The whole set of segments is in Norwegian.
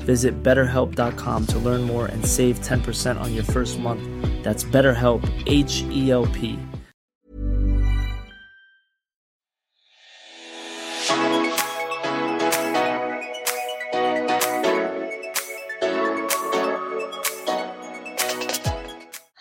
Visit betterhelp.com to learn more and save 10% on your first month. That's BetterHelp, H E L P.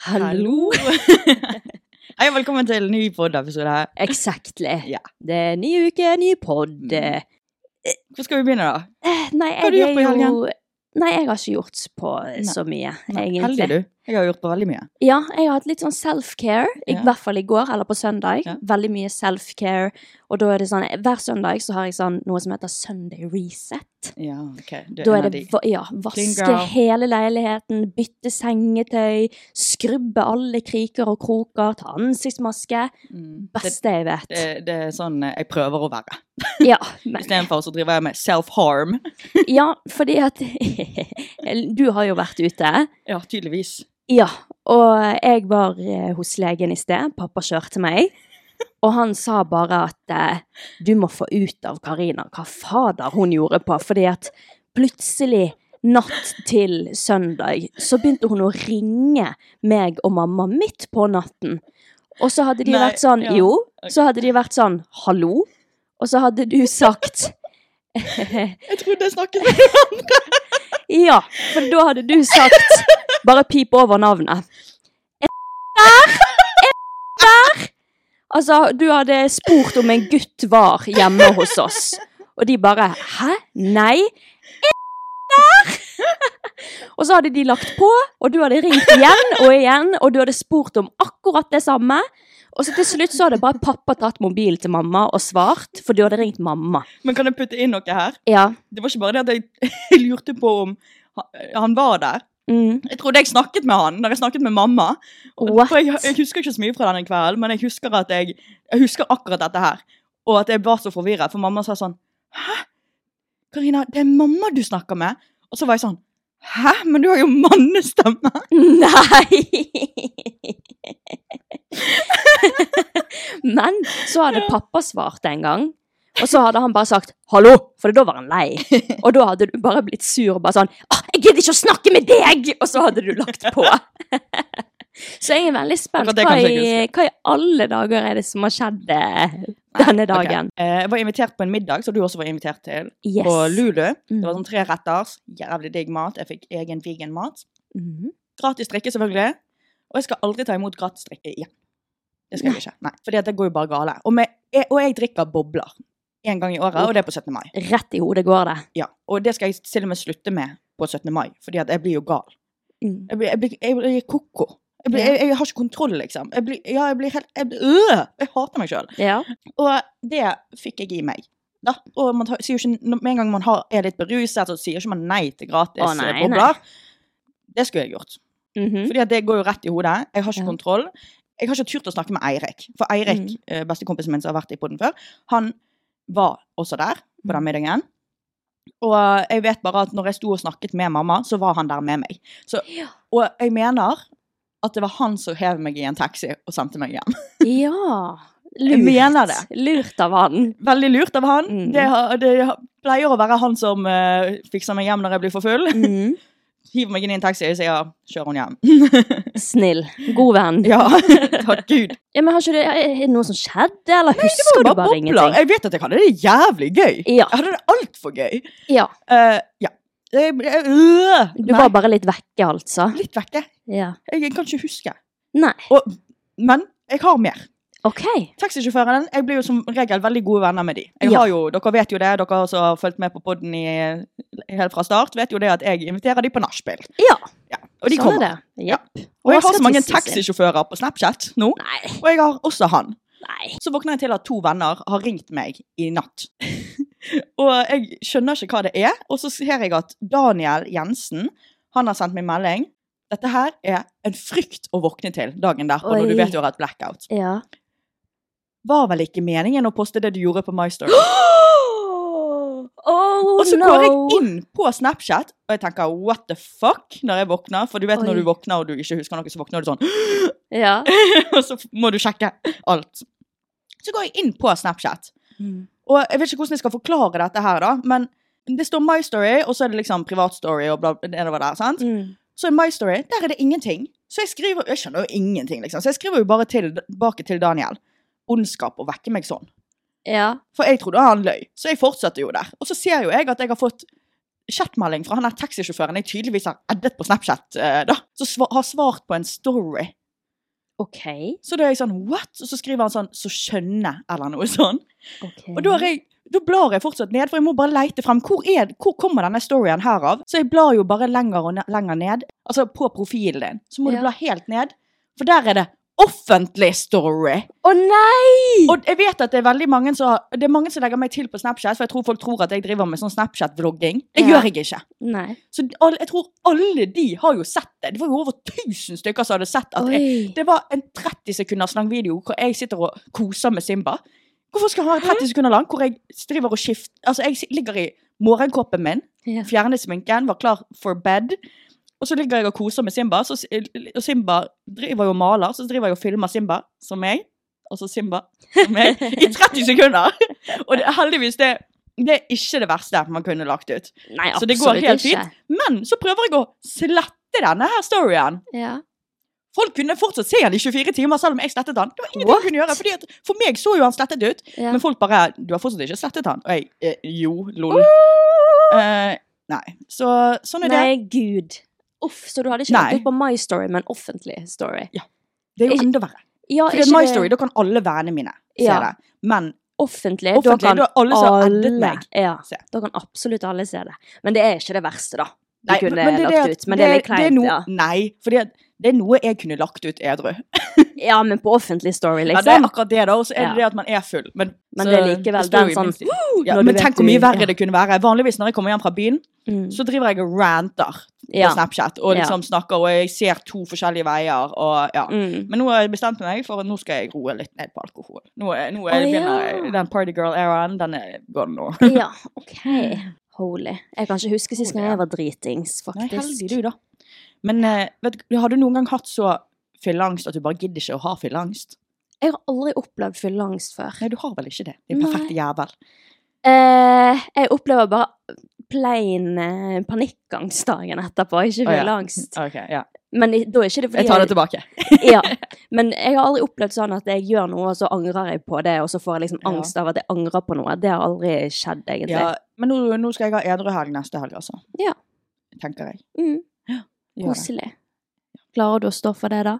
Hallo! Hei, og velkommen til en ny poddepisode her. Exactly. Ja. Det er ny uke, ny pod. Hvor skal vi begynne, da? Eh, Nei, Mm. har du jeg gjort på i er jo helgen? Nei, jeg har ikke gjort på eh, så mye, Nei, egentlig. Heldig, du. Jeg har gjort på veldig mye. Ja, jeg har hatt litt sånn self-care, i Ja. hvert fall i går eller på søndag. Ja. Veldig mye self-care. Og da er det sånn, hver søndag så har jeg sånn noe som heter Sunday Reset. Ja, ok. Du Da en er av det de. va ja, Clean vaske girl. hele leiligheten, bytte sengetøy, skrubbe alle kriker og kroker, ta ansiktsmaske. Mm. Det, Beste jeg vet. det, det er sånn eh, jeg prøver å være. Ja, men Istedenfor så driver jeg med self-harm. Ja, fordi at Du har jo vært ute. Ja, tydeligvis. Ja. Og jeg var eh, hos legen i sted. Pappa kjørte meg. Og han sa bare at eh, du må få ut av Karina hva fader hun gjorde på. Fordi at plutselig, natt til søndag, så begynte hun å ringe meg og mamma midt på natten. Og så hadde de Nei, vært sånn ja. Jo, så Ok. hadde de vært sånn Hallo? Og så hadde du sagt Jeg trodde jeg snakket med hverandre. Ja, for da hadde du sagt Bare pip over navnet. Er der? Er der? Altså, du hadde spurt om en gutt var hjemme hos oss. Og de bare Hæ? Nei? Er der? Og så hadde de lagt på, og du hadde ringt igjen og igjen, og du hadde spurt om akkurat det samme. Og så til slutt så hadde bare pappa tatt mobilen til mamma og svart, for du hadde ringt mamma. Men kan jeg putte inn noe her? Ja. Det var ikke bare det at jeg lurte på om han- han var der. Mm. Jeg trodde jeg snakket med han når jeg snakket med mamma. Og- What? For jeg, jeg husker ikke så mye fra denne kvelden, men jeg husker, at jeg, jeg husker akkurat dette her. Og at jeg var så forvirret, for mamma sa sånn Hæ? Karina, det er mamma du snakker med? Og så var jeg sånn Hæ? Men du har jo mannestemme! Nei! Men så hadde pappa svart en gang, og så hadde han bare sagt 'hallo', for da var han lei. Og da hadde du bare blitt sur og bare sånn 'Å, jeg gidder ikke å snakke med deg!' Og så hadde du lagt på. Så jeg er veldig spent. Akkurat det Hva kanskje jeg i, hva i alle dager er det som har skjedd eh, denne Ok. dagen? Eh, Jeg var invitert på en middag, som du også var invitert til, Yes. på Lulu. Det var Mm. sånn tre retters, jævlig digg mat. Jeg fikk egen vegan mat. Mhm. Gratis drikke, selvfølgelig. Og jeg skal aldri ta imot gratis drikke igjen. Det skal jeg ikke. Nei, For det går jo bare gale. Og, med, jeg, og jeg drikker bobler én gang i året, og det er på 17. mai. Rett i hodet går det. Ja, Og det skal jeg til og med slutte med på 17. mai, fordi at jeg blir jo gal. Mm. Jeg blir, jeg blir, jeg blir koko. Jeg, blir, Ja. jeg, jeg har ikke kontroll, liksom. Jeg blir, ja, jeg blir helt jeg, blir, øh, jeg hater meg sjøl. Ja. Og det fikk jeg i meg. Da. Og man tar, sier jo ikke, når- med en gang man har, er litt beruset, så sier ikke man nei til gratis Å, nei, eh, bobler. Det skulle jeg gjort. Mhm. Fordi at det går jo rett i hodet. Jeg har ikke Ja. kontroll. Jeg har ikke turt å snakke med Eirik. For Eirik, Mm. eh, bestekompisen min som har vært i podden før, han var også der på Mm. den middagen. Og jeg vet bare at når jeg sto og snakket med mamma, så var han der med meg. Så, og jeg mener at det var han som hev meg i en taxi og sendte meg hjem. Ja. Jeg mener det. Lurt av han. Veldig lurt av han. Mm. Det, har- det har- pleier å være han som eh, fikser meg hjem når jeg blir for full. Mm. Hiver meg inn i en taxi og sier 'kjør henne hjem'. Snill. God venn. Ja. Ja, takk Gud. men har ikke det, Er det noe som skjedde, eller husker Det du var bare bare bobler. ingenting? Jeg vet at jeg hadde det jævlig gøy. Ja. Jeg hadde det altfor gøy. Ja. Eh, ja. Jeg, jeg, øh, Du nei, var bare litt vekke, altså? litt vekke. Ja. Jeg, jeg kan ikke huske. Nei. Og, men jeg har mer. OK. Taxisjåføren Jeg blir jo som regel veldig gode venner med de. Jeg Ja. har jo, Dere vet jo det, dere som har fulgt med på poden helt fra start, vet jo det at jeg inviterer de på nachspiel. Ja. Ja. Og de sånn kommer. er det. Jepp. Og jeg Hva har skal så mange til Sissel? taxisjåfører på Snapchat nå. Nei. Og jeg har også han. Nei. Så våkner jeg til at to venner har ringt meg i natt. og jeg skjønner ikke hva det er. Og så ser jeg at Daniel Jensen han har sendt meg melding. Dette her er en frykt å våkne til dagen derpå når Oi. du vet du har hatt blackout. Ja. Var vel ikke meningen å poste det du gjorde på My Story? Oh, Og så no. går jeg inn på Snapchat, og jeg tenker what the fuck når jeg våkner. For du vet Oi. når du våkner og du ikke husker noe, så våkner du sånn. Ja. og så må du sjekke alt. Så går jeg inn på Snapchat. Og jeg vet ikke hvordan jeg skal forklare dette her, da, men det står My Story, og så er det liksom privat story og bla, nedover der, sant? Mm. Så i My Story, der er det ingenting. Så jeg skriver Jeg skjønner jo ingenting, liksom. Så jeg skriver jo bare til, tilbake til Daniel. Ondskap å vekke meg sånn. Ja. For jeg trodde han løy, så jeg fortsatte jo der. Og så ser jo jeg at jeg har fått chatmelding fra han her taxisjåføren jeg tydeligvis har eddet på Snapchat, eh, da. Som sva- har svart på en story. OK. Så da er jeg sånn what? Og så skriver han sånn så skjønne, eller noe sånn. ok. Og da, har jeg, da blar jeg fortsatt ned, for jeg må bare leite frem. Hvor, er, hvor kommer denne storyen her av? Så jeg blar jo bare lenger og ne lenger ned. Altså på profilen din. Så må Ja. du bla helt ned. For der er det offentlig story. Å nei! Og jeg vet at det er veldig mange som, har- det er mange som legger meg til på Snapchat, for jeg tror folk tror at jeg driver med sånn Snapchat-vlogging. Det Ja. gjør jeg ikke. Nei. Så alle- jeg tror alle de har jo sett det. Det var jo over tusen stykker som hadde sett at jeg, Oi. det var en 30 sekunders lang video hvor jeg sitter og koser med Simba. Hvorfor skal jeg ha en 30 sekunder lang hvor jeg driver og skifter Altså, jeg si- ligger i morgenkåpen min, Ja. fjerner sminken, var klar for bed. Og så ligger jeg og koser med Simba, så, si- og Simba driver jo og maler, så driver jeg og filmer Simba, som meg, og så Simba, som meg, i 30 sekunder! Og det, heldigvis, det, det er ikke det verste man kunne lagt ut. Nei, Så det går absolutt helt ikke. Men så prøver jeg å slette denne her storyen. Ja. Folk kunne fortsatt se han i 24 timer, selv om jeg slettet han. Det var ingenting What? jeg kunne gjøre, fordi at For meg så jo han slettet ut, Ja. men folk bare 'Du har fortsatt ikke slettet han.' Og jeg eh, 'Jo, lol'. Eh, nei. Så sånn er det. Nei, gud. Uff, så du hadde ikke Nei. lagt ut på My Story, men offentlig story. Det er jo ikke- enda verre. Ja, For det ikke er My det- Story, da kan alle vennene mine se Ja. det. Men Offentlig, Offentlig, da da kan alle som har eddet meg ja, se. Da kan absolutt alle se det. Men det er ikke det verste, da. Du Nei, kunne det er lagt det at ut, men det er litt det er kleint. noe- ja. Nei, for det, det er noe jeg kunne lagt ut edru. ja, men på offentlig story, Ja, det er liksom. akkurat det, da. Og så er det Ja. det at man er full. Men, Men så det er likevel står jo den i sånn, minst- når ja, du Men vet tenk du- hvor mye ja. verre det kunne være. Vanligvis når jeg kommer hjem fra byen, Mm. så driver jeg og ranter Ja. på Snapchat. Og Ja. liksom snakker, og jeg ser to forskjellige veier. Og, ja. Mm. Men nå har jeg bestemt meg for at nå skal jeg roe litt ned på alkohol. Nå, er- nå er, Å, begynner ja. jeg- den partygirl-æraen. Den er gone nå. Ja, OK. Holy. Jeg kan ikke huske sist gang jeg var dritings, Nei, heldig faktisk. du, da. Men eh, vet du, har du noen gang hatt så fylleangst at du bare gidder ikke å ha fylleangst? Jeg har aldri opplevd fylleangst før. Nei, du har vel ikke det? Din perfekte jævel. Eh, jeg opplever bare plain eh, panikkangst dagen etterpå, ikke Å, ja. fylleangst. Ok, ja. Men i- da er ikke det fordi Jeg tar det tilbake. ja. Men jeg har aldri opplevd sånn at jeg gjør noe, og så angrer jeg på det, og så får jeg liksom Ja. angst av at jeg angrer på noe. Det har aldri skjedd, egentlig. Ja, men nå, nå skal jeg ha edru helg neste helg, altså. Ja. Tenker jeg. Mm, Gjør det. koselig. Klarer du å stå for det, da?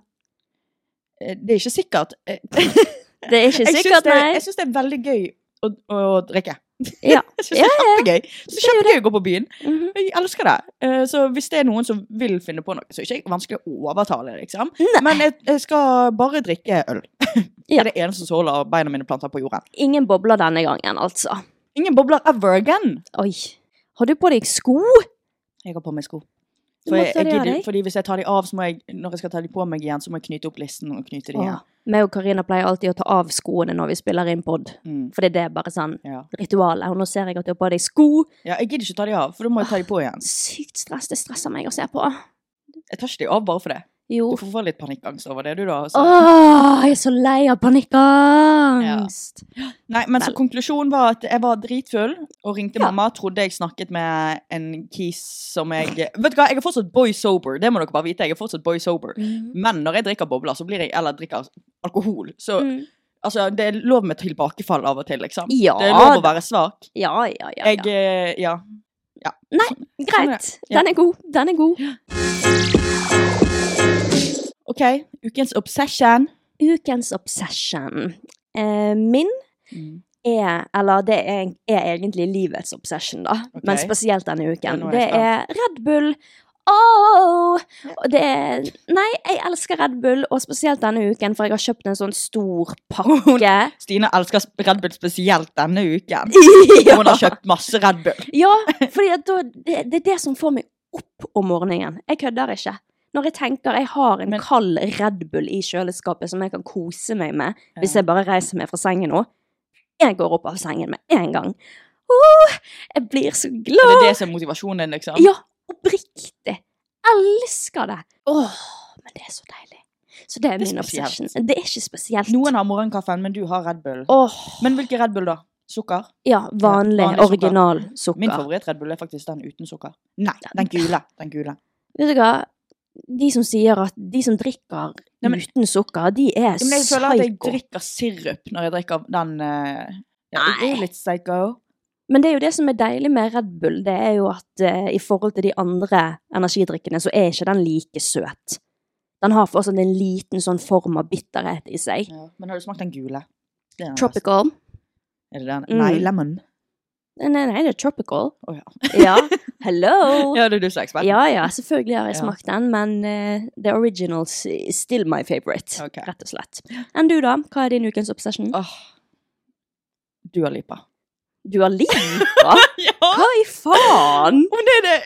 Eh, Det er ikke sikkert. Eh, Det er ikke Jeg syns sikkert, det, nei. jeg syns det er veldig gøy å, å, drikke. Ja. Jeg syns det er kjempegøy. Så kjempegøy å gå på byen. Mhm. Jeg elsker det. Eh, Så hvis det er noen som vil finne på noe, så er det ikke vanskelig å overtale, liksom. Nei. Men jeg, jeg skal bare drikke øl. Det Ja. er det eneste som holder beina mine planta på jorden. Ingen bobler denne gangen, altså. Ingen bobler ever again. Oi. Har du på deg sko? Jeg har på meg sko. Du For må jeg, ta jeg de av gidder, deg. fordi hvis jeg tar de av, så må jeg, når jeg skal ta de på meg igjen, så må jeg knyte opp listen og knyte de igjen. Åh, Meg og Karina pleier alltid å ta av skoene når vi spiller inn pod. Mm. Fordi det er bare sånn Ja. ritualet. Og nå ser jeg at du har på deg sko. Ja, jeg gidder ikke ta de av, for da må jeg ta de på igjen. Sykt stress. Det stresser meg å se på. Jeg tar ikke de av bare for det. Jo. Du får litt panikkangst over det, du da. Så. Åh, jeg er så lei av panikkangst! Nei, men så Vel. konklusjonen var at jeg var dritfull og ringte Ja. mamma. Trodde jeg snakket med en kis som jeg Vet du hva, jeg er fortsatt boy sober. Det må dere bare vite. Jeg er fortsatt boy sober. Mm. Men når jeg drikker bobler, så blir jeg Eller drikker alkohol, så Mm. Altså, det er lov med tilbakefall av og til, liksom. Ja det er lov å da. være svak. Ja, ja, ja. Jeg ja. eh, Ja. Greit. sånn er det. Ja. Den er god. Den er god. OK, ukens obsession. Ukens obsession. Eh, min Mm. er Eller det er, er egentlig livets obsession, da. Ok. Men spesielt denne Ja, uken. nå er Det jeg er Red Bull. Åh! Og det er Nei, jeg elsker Red Bull, og spesielt denne uken, for jeg har kjøpt en sånn stor pakke. Stine elsker sp- Red Bull spesielt denne uken. Ja. Hun har kjøpt masse Red Bull. Ja, fordi at da, det, det er det som får meg opp om morgenen. Jeg kødder ikke. Når jeg tenker jeg har en Men- kald Red Bull i kjøleskapet som jeg kan kose meg med hvis Ja. jeg bare reiser meg fra sengen nå Jeg går opp av sengen med en gang. Åh, jeg blir så Er det glad! det som er motivasjonen din, liksom? Ja, oppriktig. Elsker det. Åh, men det er så deilig. Så det er Det er min spesielt. obsession. Det er ikke spesielt. Noen har morgenkaffen, men du har Red Bull. Åh, Men hvilken Red Bull, da? Sukker? ja, vanlig, vanlig sukker. original sukker. Min favoritt-Red Bull er faktisk den uten sukker. Nei, Ja, den den- gule. Den gule. Vet du hva? De som sier at de som drikker Nei, men- uten sukker, de er Ja, Men jeg føler at jeg psyko. drikker sirup når jeg drikker den eh, ja, Det er Nei. jo litt psycho. Men det er jo det som er deilig med Red Bull, det er jo at eh, i forhold til de andre energidrikkene, så er ikke den like søt. Den har fortsatt en liten sånn form av bitterhet i seg. Ja. Men har du smakt den gule? Det er den beste. Tropical. Er det den? Mm. Nei, lemon. Nei, Eh, nei, nei, det er tropical. Å ja. Ja, hello! Ja, det er du som er ekspert. Ja, ja, selvfølgelig har jeg Ja. smakt den, men eh, the originals is still my favorite, Ok. rett og slett. Enn du da? Hva er din ukens obsession? Åh. Du har lipa. Du har lipa? Ja! Hva i faen? Hun er det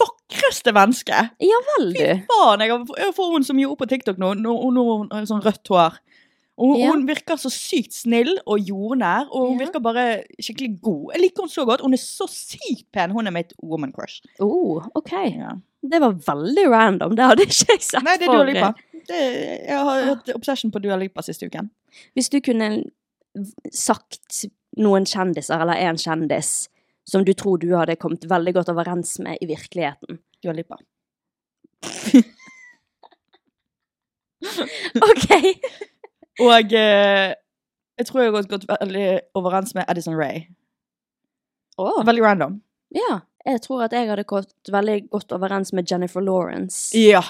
vakreste mennesket. Ja vel, Fy du. faen, jeg, har- jeg får hun som gjorde på TikTok nå, nå, nå hun har sånn rødt hår. Og hun, Ja. hun virker så sykt snill og jordnær, og hun Ja. virker bare skikkelig god. Jeg liker hun så godt. Hun er så sykt pen. Hun er mitt woman crush. Oh, ok. Ja. Det var veldig random. Det hadde ikke jeg sett Nei, det er for Ah. Dua meg. Lipa. Det, jeg har hatt obsession på Dua Lipa siste uken. Hvis du kunne v- sagt noen kjendiser, eller en kjendis, som du tror du hadde kommet veldig godt overens med i virkeligheten. Dua Lipa. Ok! Og eh, jeg tror jeg har gått- gått veldig overens med Edison Ray. Veldig random. Ja. Jeg tror at jeg hadde gått veldig godt overens med Jennifer Lawrence. Ja.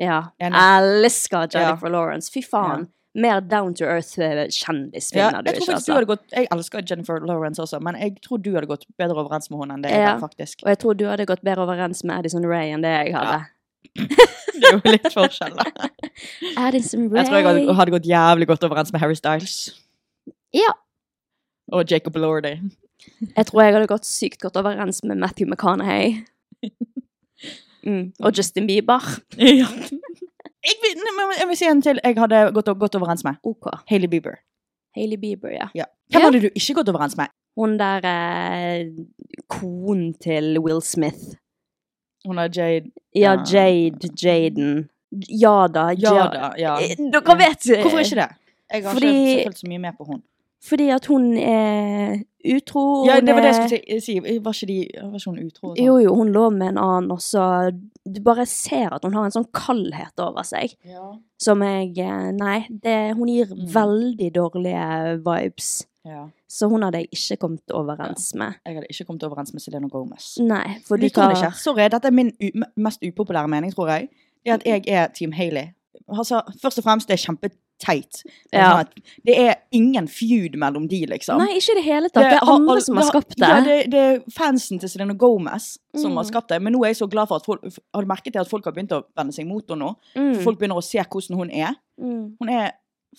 Ja. Enig. Elsker Jennifer Lawrence. Fy faen. Mer down to earth-kjendis Ja, finner du jeg, tror ikke, faktisk du altså. hadde gått, jeg elsker Jennifer Lawrence også, men jeg tror du hadde gått bedre overens med henne enn det jeg Ja. har, faktisk. Og jeg tror du hadde gått bedre overens med Addison Ray enn det jeg hadde. Det er jo litt forskjell, da. Addison Ray. Jeg tror jeg hadde, hadde gått jævlig godt overens med Harry Styles. Ja. Og Jacob Lordy. Jeg tror jeg hadde gått sykt godt overens med Matthew McConaughey. Mm. Og Justin Bieber. Ja. Jeg vil, nei, men jeg vil si en til jeg hadde gått godt overens med. OK. Hailey Bieber. Hailey Bieber, ja. Ja. Hvem Ja. hadde du ikke gått overens med? Hun der eh, konen til Will Smith. Hun er Jade Ja, Ja. Jade, Jaden. Jada, Jada. Ja. Eh, Dere vet eh, Hvorfor ikke det? Jeg har Fordi- ikke følt så mye med på henne. Fordi at hun er utro. Ja, hun det var det jeg er- skulle si. Var ikke, de, var ikke hun utro? og sånn? Jo, jo, hun lå med en annen også. Du bare ser at hun har en sånn kaldhet over seg. Ja. Som jeg eh, Nei, det, hun gir Mm. veldig dårlige vibes. ja. Så hun hadde jeg ikke kommet overens med. Jeg hadde ikke kommet overens med Selena Gomez. Nei, for du Liker hun tar ikke. Sorry, dette er min u m- mest upopulære mening, tror jeg. Det at Mm. jeg er Team Hailey. Altså, først og fremst, det er kjempeteit. Det er Ja. sånn at Det er ingen feud mellom de, liksom. Nei, ikke i det hele tatt. Det, er har andre al- som har skapt det. Ja, det, det er fansen til Selena Gomez som Mm. har skapt det. Men nå er jeg så glad for at folk Har du merket det at folk har begynt å vende seg mot henne nå? mm. Folk begynner å se hvordan hun er. mm. Hun er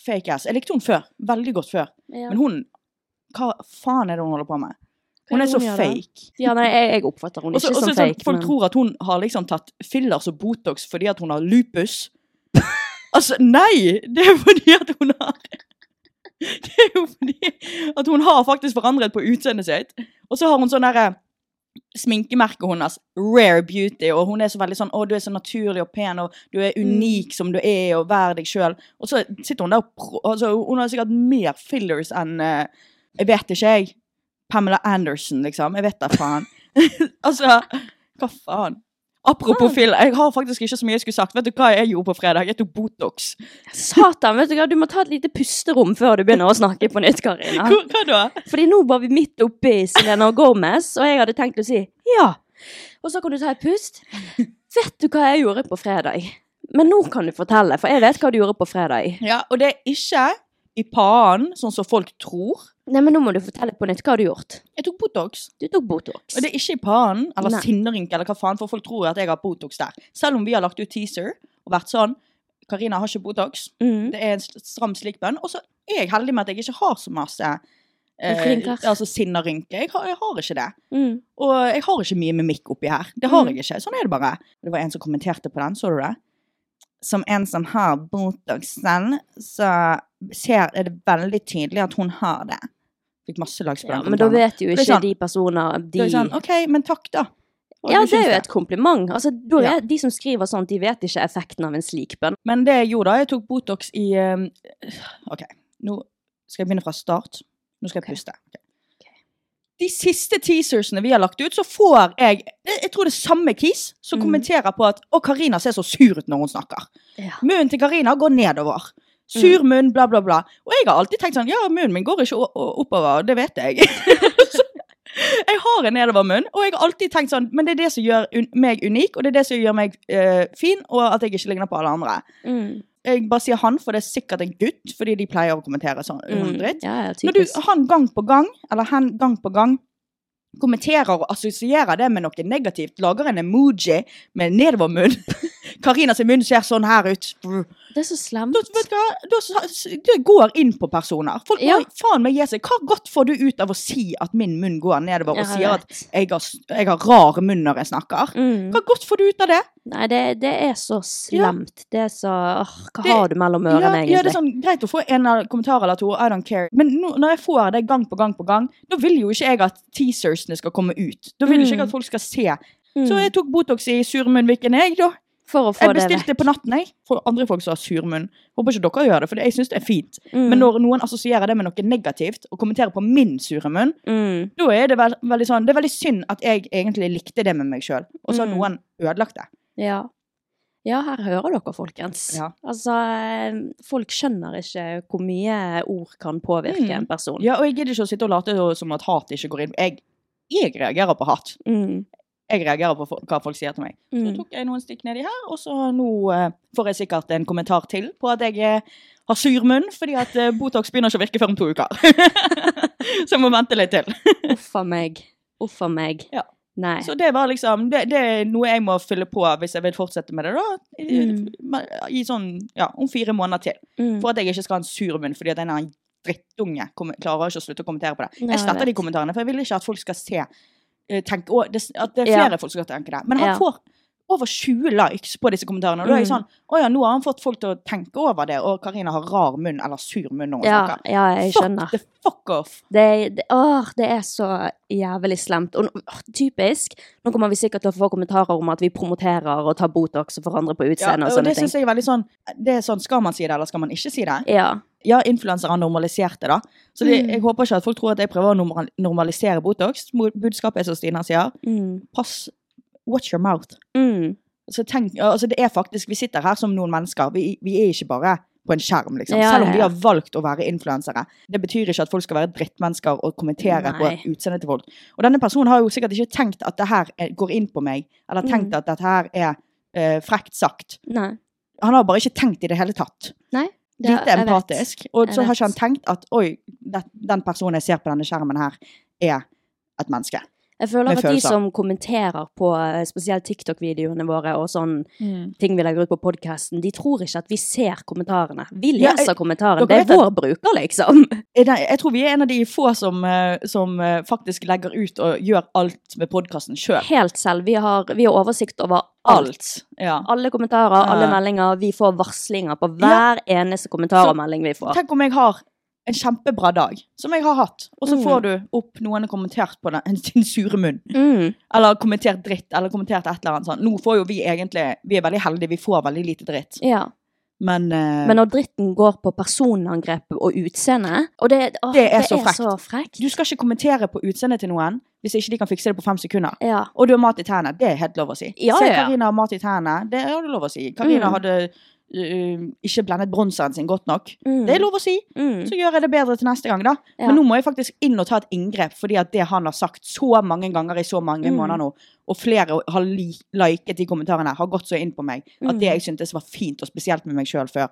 fake ass. Jeg likte hun før. Veldig godt før. ja. Men hun Hva faen er det hun holder på med? Hva Hun er er det så hun gjør da? fake. ja, nei, jeg, jeg oppfatter henne Og så- ikke og så er som det sånn, fake. Folk men- tror at hun har liksom tatt fillers og Botox fordi at hun har lupus. altså, nei! Det er fordi at hun har Det er jo fordi at hun har faktisk forandret på utseendet sitt. Og så har hun sånn derre sminkemerket hennes, Rare Beauty, og hun er så veldig sånn 'Å, du er så naturlig og pen, og du Mm. er unik som du er, og vær deg sjøl'. Og så sitter hun der og pro- altså, Hun har sikkert mer fillers enn eh, Jeg vet ikke, jeg. Pamela Anderson, liksom. Jeg vet da faen. altså, hva faen? Apropos fill, jeg har faktisk ikke så mye jeg skulle sagt. Vet du hva jeg gjorde på fredag? Jeg tok Botox. Satan, vet du hva, du må ta et lite pusterom før du begynner å snakke på nytt, Karina. Hva, hva da? Fordi nå var vi midt oppe i Selena Gomez, og jeg hadde tenkt å si ja. Og så kan du ta et pust. Vet du hva jeg gjorde på fredag? Men nå kan du fortelle, for jeg vet hva du gjorde på fredag. Ja, og det er ikke i panen, sånn som folk tror. Nei, men nå må du fortelle på nytt hva har du gjort. Jeg tok Botox. Du tok Botox. Og det er ikke i panen, eller Nei. sinnarynke, eller hva faen, for folk tror at jeg har Botox der. Selv om vi har lagt ut teaser og vært sånn Karina har ikke Botox. Mm. Det er en sl- stram slikkbønn. Og så er jeg heldig med at jeg ikke har så masse eh, Rynker. altså sinnarynke. Jeg, har- jeg har ikke det. Mm. Og jeg har ikke mye mimikk oppi her. Det har Mm. jeg ikke. Sånn er det bare. Det var en som kommenterte på den, så du det? Som en som har Botox selv, så ser, er det veldig tydelig at hun har det. Fikk masse lags på Ja, den. men da kommentaren. vet jo Det er ikke sant. de personer Da de er jeg sånn, OK, men takk, da. Og Ja, du det er syns jo et kompliment. Altså, da er, Ja. De som skriver sånt, de vet ikke effekten av en slik bønn. Men det jeg gjorde da, jeg tok Botox i um, Ok, nå skal jeg begynne fra start. Nå skal jeg puste. Ok. De siste teasersene vi har lagt ut, så får jeg Jeg, jeg tror det er samme kis som Mhm. kommenterer på at Å, Karina ser så sur ut når hun snakker. Munnen til Karina går nedover. Sur munn, bla, bla, bla. Og jeg har alltid tenkt sånn Ja, munnen min går ikke o- o- oppover, det vet jeg. Så jeg har en nedover munn, og jeg har alltid tenkt sånn Men det er det som gjør un meg unik, og det er det som gjør meg eh, fin, og at jeg ikke ligner på alle andre. Mm. Jeg bare sier han, for det er sikkert en gutt, fordi de pleier å kommentere sånn Mm. dritt. Ja, ja, Når du, typisk. han gang på gang, eller hen gang på gang, kommenterer og assosierer det med noe negativt, lager en emoji med nedover munn. Karina sin munn ser sånn her ut. Da, Det er så slemt. vet du hva? Da, sa- det går inn på personer. Folk Ja. må faen meg gi seg. Hva godt får du ut av å si at min munn går nedover, Ja, og sier at vet. jeg har, s- jeg har rar munn når jeg snakker? Mm. Hva godt får du ut av det? Nei, det, det er så slemt. Det er så åh, Hva Det- har du mellom ja, ørene, egentlig? Ja, det er sånn, greit å få en eller annen kommentar eller to, I don't care. Men nå, når jeg får det gang på gang på gang, da vil jo ikke jeg at teasersene skal komme ut. Da vil jo ikke Mm. jeg at folk skal se. Mm. sånn, Så jeg tok Botox i surmunnvikken, jeg, da. For å få Jeg det bestilte på natten, jeg. For andre folk som har surmunn. Håper ikke dere gjør det, for jeg syns det er fint. Mm. Men når noen assosierer det med noe negativt, og kommenterer på min sure munn, Mm. da er det vel- veldig sånn Det er veldig synd at jeg egentlig likte det med meg sjøl, og så har Mm. noen ødelagt det. Ja. ja, her hører dere, folkens. Ja. Altså, eh, folk skjønner ikke hvor mye ord kan påvirke Mm. en person. Ja, og jeg gidder ikke å sitte og late som at hat ikke går inn. Jeg, jeg reagerer på hat. Mm. jeg reagerer på fo- hva folk sier til meg. Så Mm. tok jeg noen stikk nedi her, og så nå eh, får jeg sikkert en kommentar til på at jeg eh, har sur munn, fordi at eh, Botox begynner ikke å virke før om to uker. så jeg må vente litt til. Uff a meg. Uff a meg. Ja. Nei. Så det var liksom Det, det er noe jeg må fylle på hvis jeg vil fortsette med det, da. I, Mm. i sånn Ja, om fire måneder til. Mm. For at jeg ikke skal ha en sur munn, fordi at en eller annen drittunge kom- klarer ikke å slutte å kommentere på det. Nei, Jeg jeg sletter de vet. kommentarene, for jeg vil ikke at folk skal se eh, tenke, å, det, At det er Ja. flere folk som skal tenke det. Men han Ja. får over 20 likes på disse kommentarene. Og da er jeg Mm. sånn Å ja, nå har han fått folk til å tenke over det, og Karina har rar munn eller sur munn når hun ja, snakker. ja, jeg skjønner. Fuck the fuck off! Det, det, åh, det er så jævlig slemt. Og nå- åh, typisk. Nå kommer vi sikkert til å få kommentarer om at vi promoterer og tar Botox og forandrer på Ja, utseendet og og sånne det ting. synes jeg er veldig sånn Det er sånn Skal man si det, eller skal man ikke si det? Ja. Ja, influensere har normalisert det, da. Så det, Mm. jeg håper ikke at folk tror at jeg prøver å normal- normalisere Botox. Mo- Budskapet er som Stina sier, Mm. pass Watch your mouth. Mm. Så tenk, altså det er faktisk, Vi sitter her som noen mennesker. Vi, vi er ikke bare på en skjerm, liksom. Ja, Selv om ja, vi ja. har valgt å være influensere. Det betyr ikke at folk skal være drittmennesker og kommentere på Nei. utseendet til folk. Og denne personen har jo sikkert ikke tenkt at det her eh, går inn på meg, eller Mm. tenkt at dette her er eh, frekt sagt. Nei. Han har bare ikke tenkt i det hele tatt. Nei. det- Lite jeg vet. empatisk. Og Jeg så har ikke vet. han tenkt at oi, det, den personen jeg ser på denne skjermen her, er et menneske. Jeg føler med at de følelser. som kommenterer på eh, spesielt TikTok-videoene våre og sånn Mm. ting vi legger ut på podkasten, de tror ikke at vi ser kommentarene. Vi Ja, leser jeg- kommentarene. Det dere er vet vår bruker, liksom. Eh, Nei, jeg tror vi er en av de få som, eh, som eh, faktisk legger ut og gjør alt med podkasten sjøl. Helt selv. Vi har, vi har oversikt over alt. Alt. Ja. Alle kommentarer, alle Ja. meldinger. Vi får varslinger på hver eneste kommentar og melding vi får. Tenk om jeg har en kjempebra dag, som jeg har hatt. Og så Mm. får du opp noen har kommentert på den, sin sure munn. Mm. Eller kommentert dritt, eller kommentert et eller annet sånt. Nå får jo vi egentlig Vi er veldig heldige, vi får veldig lite dritt. Ja. Men, eh, Men når dritten går på personangrep og utseende Og det, åh, Det er så frekt. frekt. du skal ikke kommentere på utseendet til noen hvis ikke de kan fikse det på fem sekunder. Ja. Og du har mat i tærne. Det er helt lov å si. Ja, Se, ja, ja. Karina har mat i tærne. Det er det lov å si. Karina Mm. hadde eh, ikke blendet bronseren sin godt nok. Mm. Det er lov å si. Mm. Så gjør jeg det bedre til neste gang, da. Ja. Men nå må jeg faktisk inn og ta et inngrep, fordi at det han har sagt så mange ganger i så mange Mm. måneder nå, og flere har li liket de kommentarene, har gått så inn på meg at Mm. det jeg syntes var fint, og spesielt med meg sjøl før,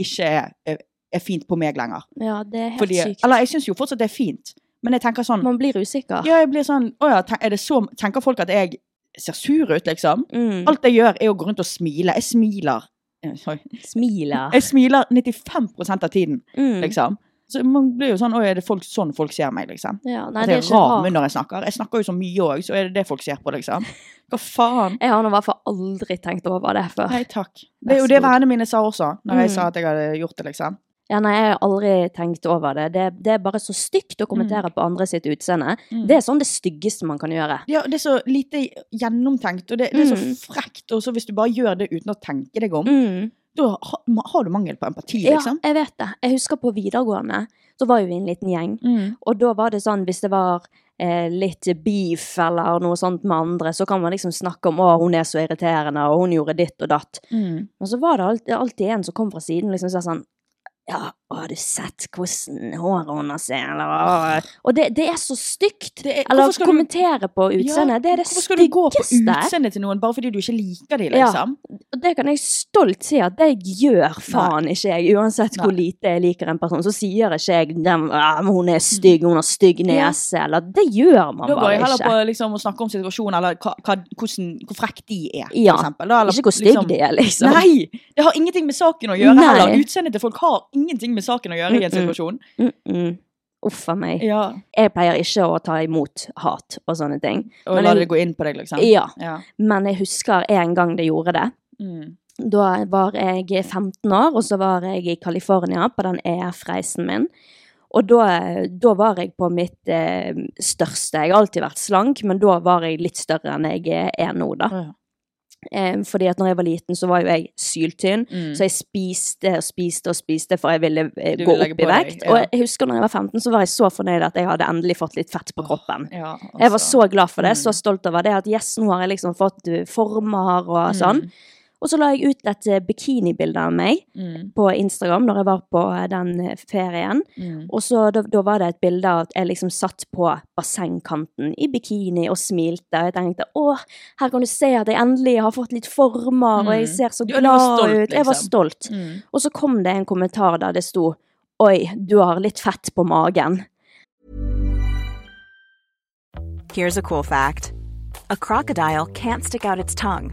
ikke er, er, er fint på meg lenger. Ja, det er helt Fordi, sykt. eller jeg syns jo fortsatt det er fint, men jeg tenker sånn Man blir usikker. Ja, jeg blir sånn Å ja, ten- er det så Tenker folk at jeg ser sur ut, liksom? Mm. Alt jeg gjør, er å gå rundt og smile. Jeg smiler. Eh, Sorry. Smiler. Jeg smiler 95 av tiden Ah. Mm. liksom. Så man blir jo sånn Oi, er det folk, sånn folk ser meg, liksom? Ja, nei, At det jeg er ikke rar munn rart. når jeg snakker. Jeg snakker jo så mye òg, så er det det folk ser på, liksom? Hva faen? Jeg har nå i hvert fall aldri tenkt over det før. Nei takk. Det er jo Vær så det god. vennene mine sa også, når jeg Mm. sa at jeg hadde gjort det, liksom. Ja, nei, jeg har aldri tenkt over det. Det, det er bare så stygt å kommentere på andre sitt utseende. Mm. Det er sånn det styggeste man kan gjøre. Ja, det er så lite gjennomtenkt, og det, det er så Mm. frekt. Og så hvis du bare gjør det uten å tenke deg om, Mm. da ha, ma- har du mangel på empati, Ja, liksom. jeg vet det. Jeg husker på videregående, så var jo vi en liten gjeng. Mm. Og da var det sånn, hvis det var eh, litt beef eller noe sånt med andre, så kan man liksom snakke om å, hun er så irriterende, og hun gjorde ditt og datt. Mm. Men så var det alltid, alltid en som kom fra siden liksom sa sånn ja, å, har du sett hvordan håret hennes er, eller å. Og det, det er så stygt! Det er- hvorfor eller skal du- kommentere på utseendet. det er det Hvorfor skal du gå på styggeste. utseendet til noen bare fordi du ikke liker dem, Ja. liksom? Og det kan jeg stolt si at det gjør faen ikke jeg. Uansett hvor Nei. Mm. lite jeg liker en person, så sier ikke jeg dem, «Ah, men 'hun er stygg', 'hun har stygg nese', eller Det gjør man Da går bare jeg heller ikke. på liksom, å snakke om situasjonen, eller hva, hva, hvordan, hvor frekk de er, for Ja. eksempel. Da, eller, Ikke hvor stygg de er, liksom. Nei! Det har ingenting med saken å gjøre Nei. heller. Utseendet til folk har ingenting med saken å gjøre i en Mm-mm. situasjon. Mm -mm. Uff a meg. Ja. Jeg pleier ikke å ta imot hat og sånne ting. Og Men la en- det gå inn på deg, liksom. Ja, Ja. men jeg husker en gang det gjorde det. Mm. Da var jeg 15 år, og så var jeg i California på den EF-reisen min. Og da, da var jeg på mitt eh, største. Jeg har alltid vært slank, men da var jeg litt større enn jeg er nå, da. Å, ja. Eh, fordi at når jeg var liten, så var jo jeg syltynn. Mm. Så jeg spiste og spiste og spiste, for jeg ville eh, Du gå ville legge opp i på deg, vekt. ja. Og jeg husker når jeg var 15, så var jeg så fornøyd at jeg hadde endelig fått litt fett på kroppen. Ja, Jeg var altså. så glad for det, Mm. så stolt over det. At yes, nå har jeg liksom fått uh, former og Mm. sånn. Og så la jeg ut et uh, bikinibilde av meg Mm. på Instagram når jeg var på uh, den uh, ferien. Mm. Og så da, da var det et bilde av at jeg liksom satt på bassengkanten i bikini og smilte. Og jeg tenkte å, her kan du se at jeg endelig har fått litt former, og Mm. jeg ser så Ja, du var glad stolt, ut. Jeg var liksom. stolt. Mm. Og så kom det en kommentar der det sto Oi, du har litt fett på magen. Here's a cool fact a crocodile can't stick out its tongue.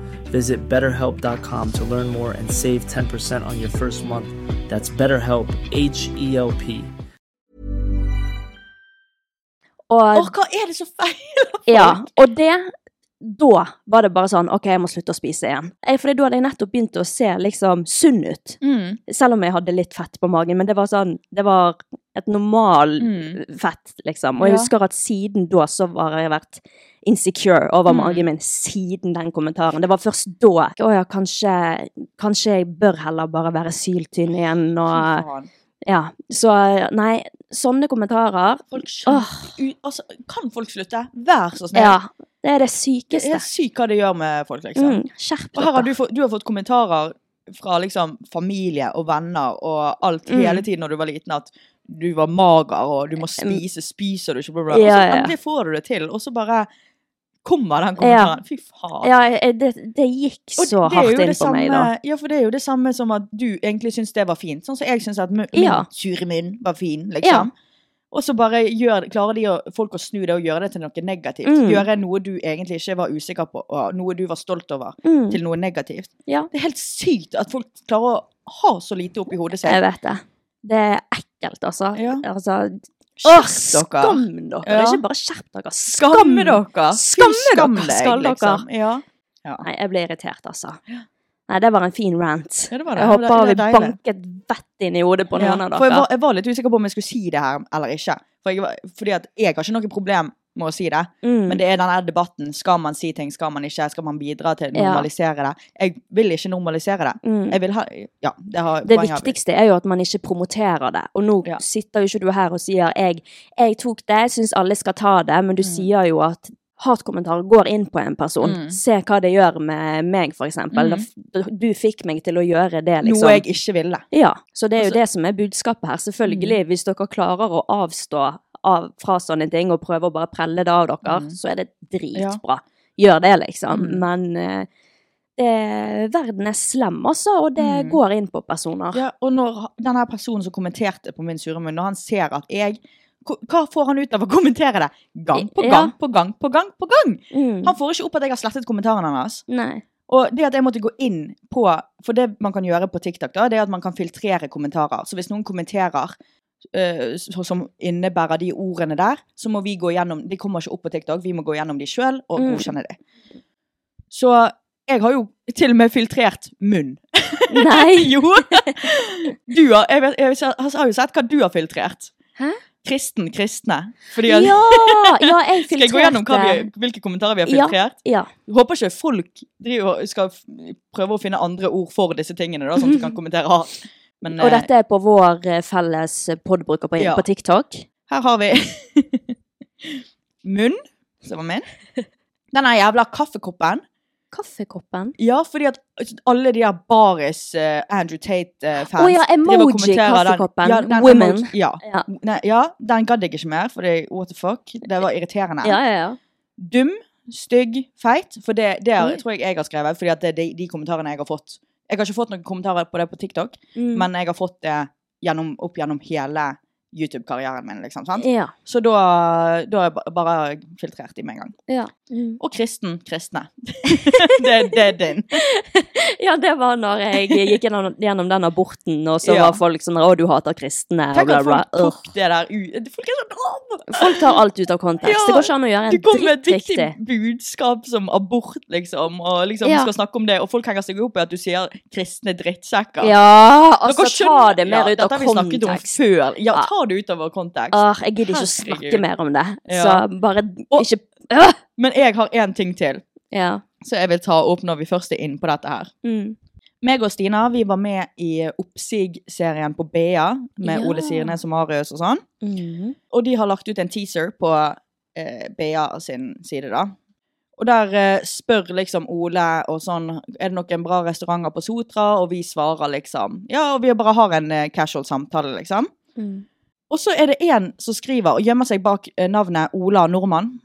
Visit betterhelp.com to learn more and save 10% on your first month. That's BetterHelp, H E L P. Og Åh, hva er det så feil? Ja, og det da var det bare sånn OK, jeg må slutte å spise igjen. Eh, Fordi da hadde jeg nettopp begynt å se liksom sunn ut. Mm. Selv om jeg hadde litt fett på magen, men det var sånn Det var et normal Mm. fett, liksom. Og jeg Ja. husker at siden da så har jeg vært insecure over Mm. magen min. Siden den kommentaren. Det var først da. Å ja, kanskje, kanskje jeg bør heller bare være syltynn igjen Fy og faen. Ja. Så eh, nei, sånne kommentarer Folk skjønner Åh, u- altså, Kan folk slutte? Vær så snill. ja. Det er det Det sykeste. er sykt hva det gjør med folk, liksom. Mm, skjerp Og her har dere. du, fått, du har fått kommentarer fra liksom familie og venner og alt Mm. hele tiden når du var liten, at du var mager og du må spise, spiser du ikke, bla, bla. Ja, og så ja, ja. endelig får du det til, og så bare kommer den kommentaren. Fy faen. Ja, jeg- det, det gikk Og så det er jo hardt det inn på meg, da. samme- Ja, for det er jo det samme som at du egentlig syns det var fint. Sånn som jeg syns at mu- min Ja. sure munn var fin, Ja. liksom. Og så bare gjør, klarer de å, folk å snu det og gjøre det til noe negativt. Mm. Gjøre noe du egentlig ikke var usikker på, og noe du var stolt over, Mm, til noe negativt. ja, Det er helt sykt at folk klarer å ha så lite oppi hodet jeg sitt. vet det. Det er ekkelt, altså. Ja. altså Åh, Skjerp skam dere! Ja. Ikke bare skjerp dere. Skam, Skamme dere! Skamme Fy, skam dere, deg, skal dere. liksom. Ja. Nei, jeg ble irritert, altså. Nei, det var en fin rant. Ja, det var det. Jeg Det- det håper vi er deilig. banket vett inn i hodet på noen Ja, av For jeg dere. var, jeg var litt usikker på om jeg skulle si det her eller ikke. For jeg, var- fordi at jeg har ikke noe problem med å si det. Mm. Men det er denne debatten. Skal man si ting? Skal man ikke? Skal man bidra til å Ja. normalisere det? Jeg vil ikke normalisere det. Mm. Jeg vil ha Ja, det har Det poenget har vi. viktigste er jo at man ikke promoterer det. Og nå Ja. sitter jo ikke du her og sier jeg, 'jeg tok det, jeg syns alle skal ta det', men du sier jo at hatkommentarer går inn på en person. Mm. Se hva det gjør med meg, for eksempel. Mm. Da f- Du fikk meg til å gjøre det, liksom. Noe jeg ikke ville. Ja, så det er jo Altså- Mm. det som er budskapet her. Selvfølgelig, hvis dere klarer å avstå av, fra sånne ting og prøver å bare prelle det av dere, Mm. så er det dritbra. Gjør det, liksom. Mm. Men eh, det, verden er slem, altså, og det Mm. går inn på personer. Ja, og når denne personen som kommenterte på min sure munn, når han ser at jeg hva- Hva får han ut av å kommentere det? Gang på Ja. gang på gang på gang på gang! Mm. Han får ikke opp at jeg har slettet kommentaren hans. Nei. Og det at jeg måtte gå inn på For det man kan gjøre på TikTok, da, det er at man kan filtrere kommentarer. Så hvis noen kommenterer eh, så- som innebærer de ordene der, så må vi gå gjennom De kommer ikke opp på TikTok, vi må gå gjennom de sjøl og Mm. godkjenne de. Så jeg har jo til og med filtrert munn. Nei! Jo! Du har, jeg, vet, jeg har jo sett hva du har filtrert. Hæ? Kristen, kristne. Fordi Ja! at, Ja, jeg filtrerte Skal jeg gå gjennom hva vi, hvilke kommentarer vi har Ja. filtrert? Ja. Jeg håper ikke folk driver, og skal f- prøve å finne andre ord for disse tingene, da, sånn at de kan kommentere hardt. Men Og eh, dette er på vår eh, felles podbruker på, Ja. på TikTok. her har vi munn, som var min. Denne jævla kaffekoppen. Kaffekoppen. Ja, fordi at alle de der baris eh, Andrew Tate-fans Å ja, driver og emoji, kommenterer den- kaffekoppen, Ja, den women. emoji- ja. Ja, Nei, ja, den gadd jeg ikke mer, fordi what the fuck? Det var irriterende. ja, ja. ja. Dum, stygg, feit. For det, det har- Oi. tror jeg jeg har skrevet, fordi at det er de, de kommentarene jeg har fått. Jeg har ikke fått noen kommentarer på det på TikTok, Mm. men jeg har fått det gjennom, opp gjennom hele YouTube-karrieren min. liksom, sant? Ja. Så da, da har jeg ba- bare filtrert de med en gang. Ja. Mm. Og kristen. Kristne. det, det er din. Ja, det var når jeg gikk gjennom, gjennom den aborten, og så Ja. var folk sånn 'Å, du hater kristne', og Tenk bla, at bla. folk tok Ugh. det der ut. Folk er sånn «Åh!» Folk tar alt ut av kontekst. Ja, det går ikke an å gjøre Du en kom med dritt et viktig riktig. budskap som abort, liksom, og liksom Ja. skal snakke om det, og folk henger seg opp i at du sier kristne drittsekker. Ja, altså Dere skjønner- ta det mer ja, ut av dette har vi snakket om kontekst. før. Ja, Ja. ta det ut av kontekst. Åh, jeg gidder ikke å Herregud. snakke mer om det. Ja. Så bare Og- ikke Øh! Men jeg har én ting til, Ja. så jeg vil ta opp når vi først er inne på dette her. Mm. Meg og Stina vi var med i Oppsig-serien på BA med Ja. Ole Sirnes og Marius og sånn. Mm. Og de har lagt ut en teaser på eh, BA sin side, da. Og der eh, spør liksom Ole og sånn Er det noen bra restauranter på Sotra? Og vi svarer liksom Ja, og vi bare har en eh, casual samtale, liksom. Mm. Og så er det en som skriver og gjemmer seg bak eh, navnet Ola Nordmann.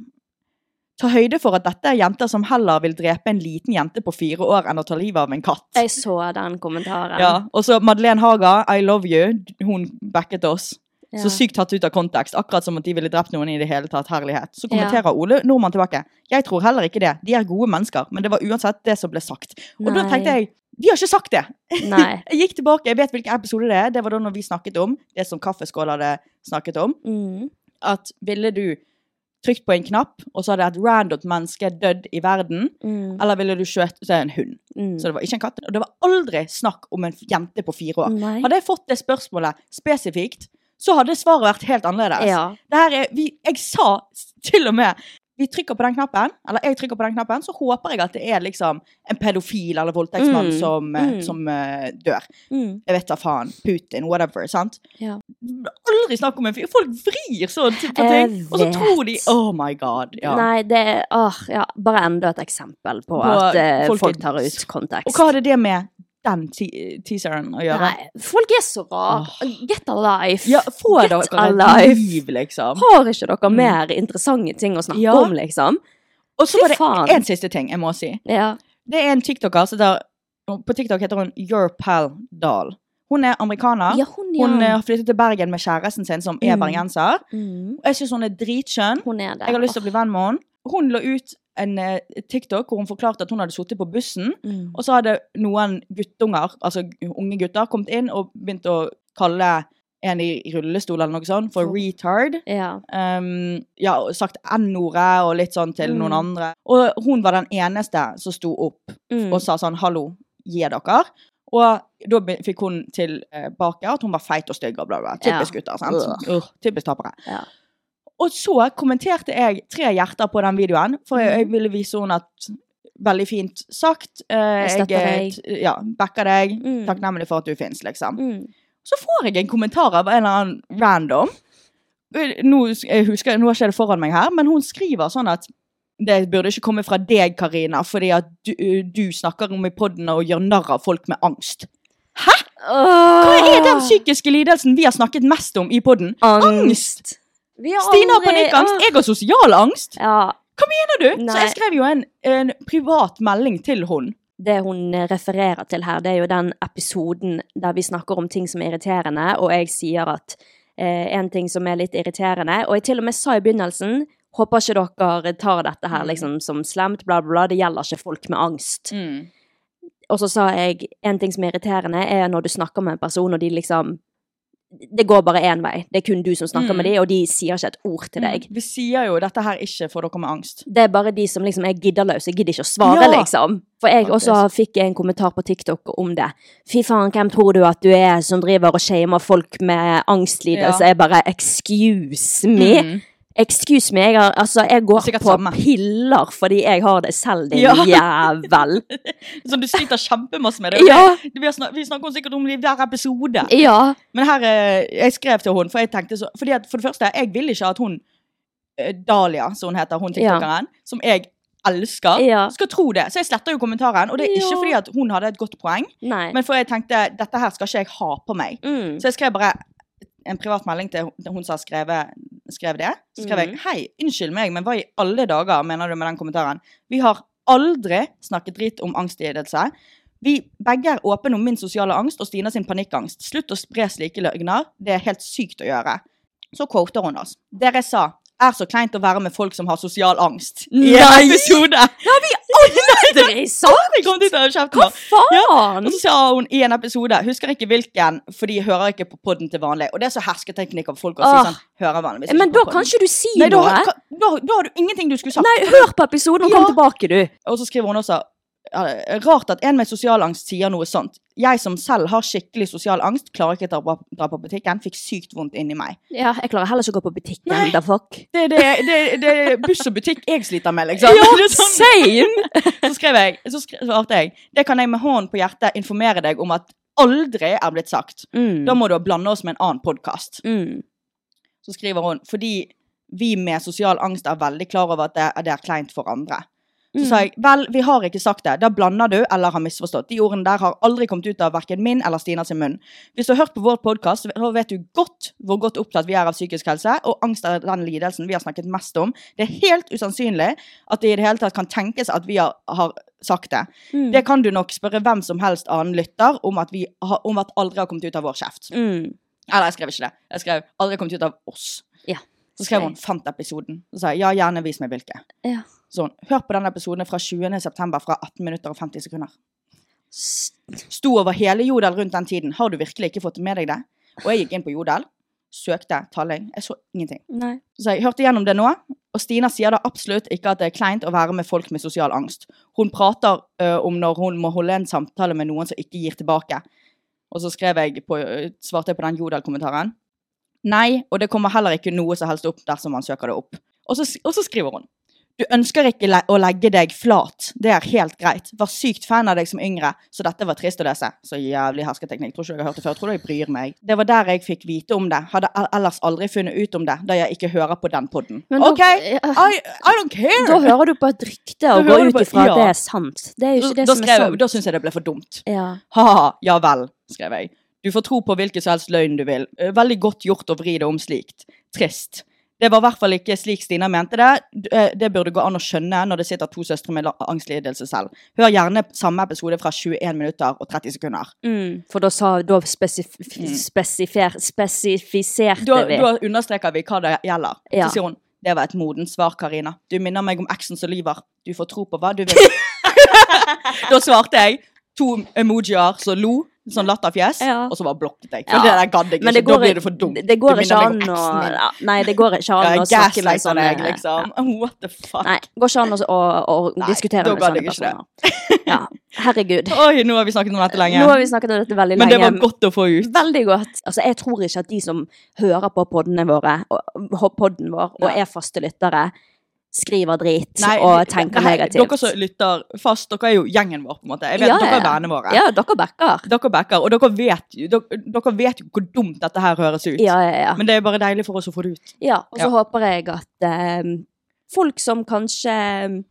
Ta høyde for at dette er jenter som heller vil drepe en liten jente på fire år enn å ta livet av en katt. Jeg så den kommentaren. Ja, Og så Madeleine Haga, I love you. Hun backet oss. Ja. Så sykt tatt ut av kontekst. Akkurat som at de ville drept noen i det hele tatt. Herlighet. Så kommenterer Ole Nordmann tilbake. Jeg tror heller ikke det. De er gode mennesker. Men det var uansett det som ble sagt. Og da Nei. Eh. tenkte jeg vi har ikke sagt det! Nei. Jeg gikk tilbake, jeg vet hvilken episode det er. Det var da når vi snakket om det som Kaffeskål hadde snakket om Mm. at ville du trykt på en knapp, og så hadde et random menneske dødd i verden? Mm. Eller ville du skjøte en hund? Mm. Så det var ikke en katt. Og det var aldri snakk om en jente på fire år. Nei. Hadde jeg fått det spørsmålet spesifikt, så hadde svaret vært helt annerledes. Ja. Det her er, vi, jeg sa s- til og med vi trykker på den knappen, eller jeg trykker på den knappen, så håper jeg at det er liksom en pedofil eller voldtektsmann Mm. som, eh, Mm. som eh, dør. Mm. Jeg vet da faen. Putin, whatever. sant? Ja. Aldri snakk om en fyr. Folk vrir sånn til- på Jeg ting, og så vet. tror de Oh my god. Ja. Nei, det er åh, ja, bare enda et eksempel på, På at eh, folk folk, er- tar ut kontekst. Og hva hadde det med den te- teaseren å gjøre? Nei, folk er så rare. Get a life. Ja, Få Get dere a et life. liv, liksom. Har ikke dere Mm. mer interessante ting å snakke Ja. om, liksom? Og så Fy var det faen. en siste ting jeg må si. Ja. Det er en tiktoker som heter På TikTok heter hun Your Pal Dahl. Hun er amerikaner. Ja, hun, ja. Hun eh, har flyttet til Bergen med kjæresten sin, som er Mm. bergenser. Mm. Og jeg syns hun er dritskjønn. Hun er det. Jeg har lyst til å bli venn med henne. Hun la ut en eh, TikTok hvor hun forklarte at hun hadde sittet på bussen, Mm. og så hadde noen guttunger, altså unge gutter, kommet inn og begynt å kalle en i rullestol eller noe sånt for For- retard. Ja. Um, ja, og sagt N-ordet og litt sånn til noen Mm. andre. Og hun var den eneste som sto opp Mm. og sa sånn 'hallo, gi dere'. Og da be- fikk hun tilbake at hun var feit og stygg og bla, bla. Typisk Ja. gutter. sant? Uh, typisk tapere. Ja. Og så kommenterte jeg tre hjerter på den videoen, for jeg, jeg Mm. ville vise henne at Veldig fint sagt. eh, Jeg støtter eh, deg. t- Ja, backer deg. Mm. Takknemlig for at du fins, liksom. Mm. Så får jeg en kommentar av en eller annen random. Eh, Nå, s- jeg husker, nå har ikke jeg det foran meg her, men hun skriver sånn at det burde ikke komme fra deg, Karina, fordi at du, eh, du snakker om i podden og gjør narr av folk med angst. Hva er Ah. den psykiske lidelsen vi har snakket mest om i podden? Angst! Vi har Stine har aldri- panikkangst, jeg har sosial angst. Ja, Mener du? Så Nei. jeg skrev jo en, en privat melding til hun. det hun refererer til her, det er jo den episoden der vi snakker om ting som er irriterende, og jeg sier at eh, en ting som er litt irriterende, og jeg til og med sa i begynnelsen, håper ikke dere tar dette Mm. her liksom som slemt, bla bla, bla, det gjelder ikke folk med angst. Og så sa jeg, en ting som er irriterende er når du snakker med en person, og de liksom, det går bare en vei, det er kun du som snakker Mm. med de, og de sier ikke et ord til deg. Mm. Vi sier jo dette her ikke for dere med angst. Det er bare de som liksom er gidderløse, gidder ikke å svare, Ja! liksom. For jeg Faktisk. også fikk en kommentar på TikTok om det. Fy faen, hvem tror du at du er som driver og shamer folk med angstlidelse? Ja. Jeg bare excuse me. Mm. Excuse me, jeg, har, altså, jeg går Sikkert på samme. piller fordi jeg har det selv, din Ja. jævel. Så du sliter kjempemasse med det. Ja. Vi, har snak vi snakker sikkert om det i hver episode. Ja. Men her, eh, jeg skrev til hun, for jeg tenkte så, fordi at for det første, jeg vil ikke at hun, eh, Dahlia, som hun heter, hun tiktokeren, som jeg elsker, Ja. skal tro det. Så jeg sletter jo kommentaren, og det er ikke Ja. fordi at hun hadde et godt poeng, Nei. men for jeg tenkte, dette her skal ikke jeg ha på meg. mm. Så jeg skrev bare en privat melding til hun- til hun som har skrevet, skrev det. Så skrev jeg Mhm. Hei, unnskyld meg, men hva i alle dager mener du med den kommentaren? Vi har aldri snakket drit om angstlidelse. Vi begge er åpne om min sosiale angst og Stina sin panikkangst. Slutt å spre slike løgner. Det er helt sykt å gjøre. Så quoter hun oss. Dere sa er så kleint å være med folk som har sosial angst. I en Nei! episode! har vi aldri sagt! Jeg kom dit og kjeften Hva nå. faen? Og så sa hun i en episode, husker ikke hvilken, for de hører ikke på podden til vanlig. Og det er så hersketeknikk av folk å si Åh. sånn, hører vanligvis Men da på kan podden. ikke du si Nei, da, noe. kan- da, da har du ingenting du skulle sagt. Nei, hør på episoden og Ja. kom tilbake, du. Og så skriver hun også, eh, rart at en med sosial angst sier noe sånt. Jeg som selv har skikkelig sosial angst, klarer ikke å dra på- dra på butikken, fikk sykt vondt inni meg. Ja, jeg klarer heller ikke å gå på butikken, Nei. da fuck. Det er det, det, det er buss og butikk jeg sliter med, liksom. Det er sånn- same! Så skrev jeg, så skrev, svarte jeg, det kan jeg med hånden på hjertet informere deg om at aldri er blitt sagt. Da må du blande oss med en annen podkast. Mm. Så skriver hun fordi vi med sosial angst er veldig klar over at det, det er kleint for andre. Så sa jeg vel, vi har ikke sagt det. Da blander du eller har misforstått. De ordene der har aldri kommet ut av verken min eller Stina sin munn. Hvis du har hørt på vår podkast, så vet du godt hvor godt opptatt vi er av psykisk helse, og angst er den lidelsen vi har snakket mest om. Det er helt usannsynlig at det i det hele tatt kan tenkes at vi har, har sagt det. Mm. Det kan du nok spørre hvem som helst annen lytter om at, vi har, om at aldri har kommet ut av vår kjeft. Mm. Eller jeg skrev ikke det. Jeg skrev aldri kommet ut av oss. Ja. Så skrev hun 'fant episoden'. Så sa jeg ja, gjerne vis meg hvilke. Ja. Så hun, hør på den episoden fra 20. september fra 18 minutter og 50 sekunder. S- Sto over hele Jodel rundt den tiden. Har du virkelig ikke fått med deg det? Og jeg gikk inn på Jodel. søkte talling. Jeg så ingenting. Nei. Så jeg hørte gjennom det nå, og Stina sier da absolutt ikke at det er kleint å være med folk med sosial angst. Hun prater ø, om når hun må holde en samtale med noen som ikke gir tilbake. Og så skrev jeg på, ø, svarte jeg på den Jodel-kommentaren. Nei, og det kommer heller ikke noe som helst opp dersom man søker det opp. Og så, s- og så skriver hun. Du ønsker ikke le å legge deg flat. Det er helt greit. Var sykt fan av deg som yngre, så dette var trist å lese. Så jævlig hersketeknikk. Tror ikke jeg har hørt det før. Tror du jeg bryr meg? Det var der jeg fikk vite om det. Hadde el- ellers aldri funnet ut om det, da jeg ikke hører på den podden. Men da- OK, I, I don't care! Da hører du på et rykte Da og går hører du ut på- ifra ja. at det er sant. Det er jo ikke det da, som er skrev, sant. da syns jeg det ble for dumt. Ja. Ha-ha, ja vel, skrev jeg. Du får tro på hvilken som helst løgn du vil. Eh, Veldig godt gjort å vri det om slikt. Trist. Det var i hvert fall ikke slik Stina mente det. D- eh, Det burde gå an å skjønne når det sitter to søstre med la- angstlidelse selv. Hør gjerne samme episode fra 21 minutter og 30 sekunder. Mm, for da sa Da spesif spesifer, spesifiserte Mm. Da, vi. da understreker vi hva det gjelder. Ja. Så sier hun det var et modent svar, Karina. Du minner meg om eksen som lyver. Du får tro på hva du vil. da svarte jeg to emojier som lo, sånn latterfjes, Ja. og så bare blokket jeg. For Ja. det der gadd jeg ikke. Men det da går, blir det for dumt. det går Du ikke minner an meg om å eksen min. ja, Nei, det går ikke Ja, an å jeg snakke med gaslighter sånne deg, liksom. What the fuck? Nei, går ikke an å, å, å Nei, diskutere da med gadd sånne jeg ikke det. personer. Ja, herregud. Oi, nå har vi snakket om dette lenge. Nå har vi snakket om dette veldig Men lenge. det var godt å få ut. Veldig godt. Altså, jeg tror ikke at de som hører på poddene våre, og, podden vår, og Nei. er faste lyttere, skriver drit Nei, og det- tenker det her- negativt. Dere som lytter fast, dere er jo gjengen vår, på en måte. Jeg vet, Ja, Dere er ja. vennene våre. Ja, dere backer. Dere backer, og dere vet, jo- dere, dere vet jo hvor dumt dette her høres ut. Ja, ja, ja. Men det er bare deilig for oss å få det ut. Ja, og så Ja. håper jeg at eh, folk som kanskje eh,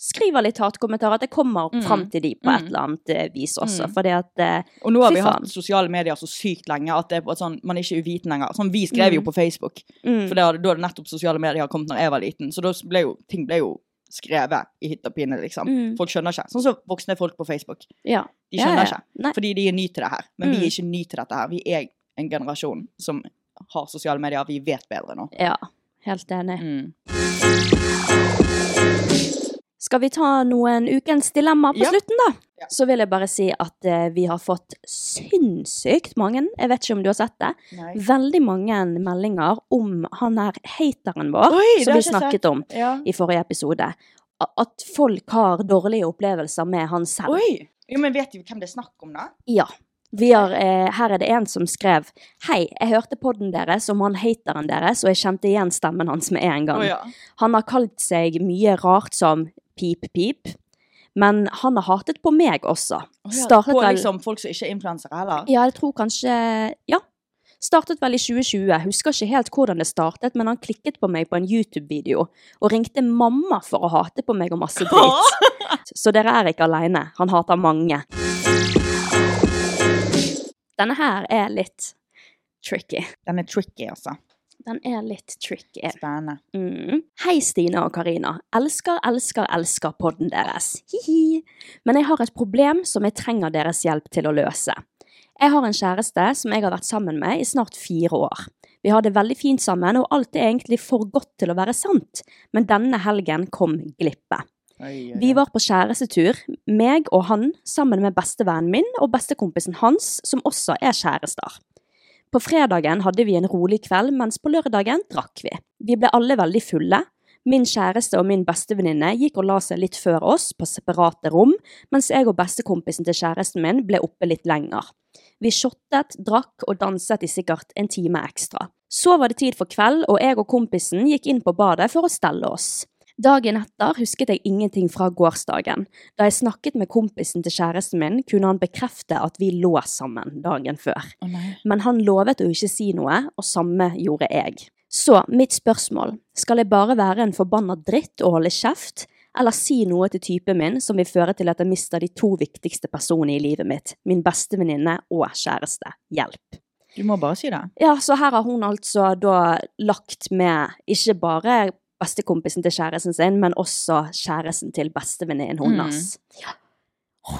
skriver litt hatkommentarer, at det kommer Mm. fram til de på et Mm. eller annet eh, vis også. Mm. Fordi at eh, Og nå har Fy vi faen. hatt sosiale medier så sykt lenge at det er på et sånn, man er ikke uviten lenger. Sånn, vi skrev jo Mm. på Facebook, mm, for da hadde da hadde nettopp sosiale medier kommet når jeg var liten. Så da ble jo, ting ble jo skrevet i hytt og pine, liksom. Mm. Folk skjønner ikke. Sånn som voksne folk på Facebook. ja. De skjønner ja, ja. ikke. Nei. Fordi de er ny til det her. Men vi Mm. er ikke ny til dette her. Vi er en generasjon som har sosiale medier. Vi vet bedre nå. Ja, helt enig. Mm. Skal vi ta noen ukens dilemma på Ja. slutten, da? Ja. Så vil jeg bare si at eh, vi har fått sinnssykt mange, jeg vet ikke om du har sett det, Nei. veldig mange meldinger om han her hateren vår Oi, det som har vi jeg ikke snakket om Ja. i forrige episode. A- At folk har dårlige opplevelser med han selv. Oi! Jo, men vet du hvem det er snakk om, da? Ja. Vi har, eh, her er det en som skrev Hei, jeg hørte podden deres om han hateren deres, og jeg kjente igjen stemmen hans med en gang. Å, ja. Han har kalt seg mye rart som pip-pip, men han har hatet på meg også. Å, ja. Startet På vel liksom folk som ikke er influensere heller? Ja, jeg tror kanskje Ja. Startet vel i 2020. Jeg Husker ikke helt hvordan det startet, men han klikket på meg på en YouTube-video og ringte mamma for å hate på meg og masse dritt. Så dere er ikke aleine. Han hater mange. Denne her er litt tricky. Den er tricky, altså. Den er litt tricky. Spennende. Mm. Hei, Stine og Karina. Elsker, elsker, elsker podden deres. Hihi. Men jeg har et problem som jeg trenger deres hjelp til å løse. Jeg har en kjæreste som jeg har vært sammen med i snart fire år. Vi har det veldig fint sammen, og alt er egentlig for godt til å være sant. Men denne helgen kom glippet. Oi, oi, Vi oi. var på kjærestetur, meg og han, sammen med bestevennen min og bestekompisen hans, som også er kjærester. På fredagen hadde vi en rolig kveld, mens på lørdagen drakk vi. Vi ble alle veldig fulle. Min kjæreste og min bestevenninne gikk og la seg litt før oss, på separate rom, mens jeg og bestekompisen til kjæresten min ble oppe litt lenger. Vi shottet, drakk og danset i sikkert en time ekstra. Så var det tid for kveld, og jeg og kompisen gikk inn på badet for å stelle oss. Dagen etter husket jeg ingenting fra gårsdagen. Da jeg snakket med kompisen til kjæresten min, kunne han bekrefte at vi lå sammen dagen før. Å, nei. Men han lovet å ikke si noe, og samme gjorde jeg. Så mitt spørsmål, skal jeg bare være en forbanna dritt og holde kjeft, eller si noe til typen min som vil føre til at jeg mister de to viktigste personene i livet mitt, min bestevenninne og kjæreste? Hjelp. Du må bare si det. Ja, så her har hun altså da lagt med ikke bare bestekompisen til kjæresten sin, men også kjæresten til bestevenninnen Mm. hennes. Ja.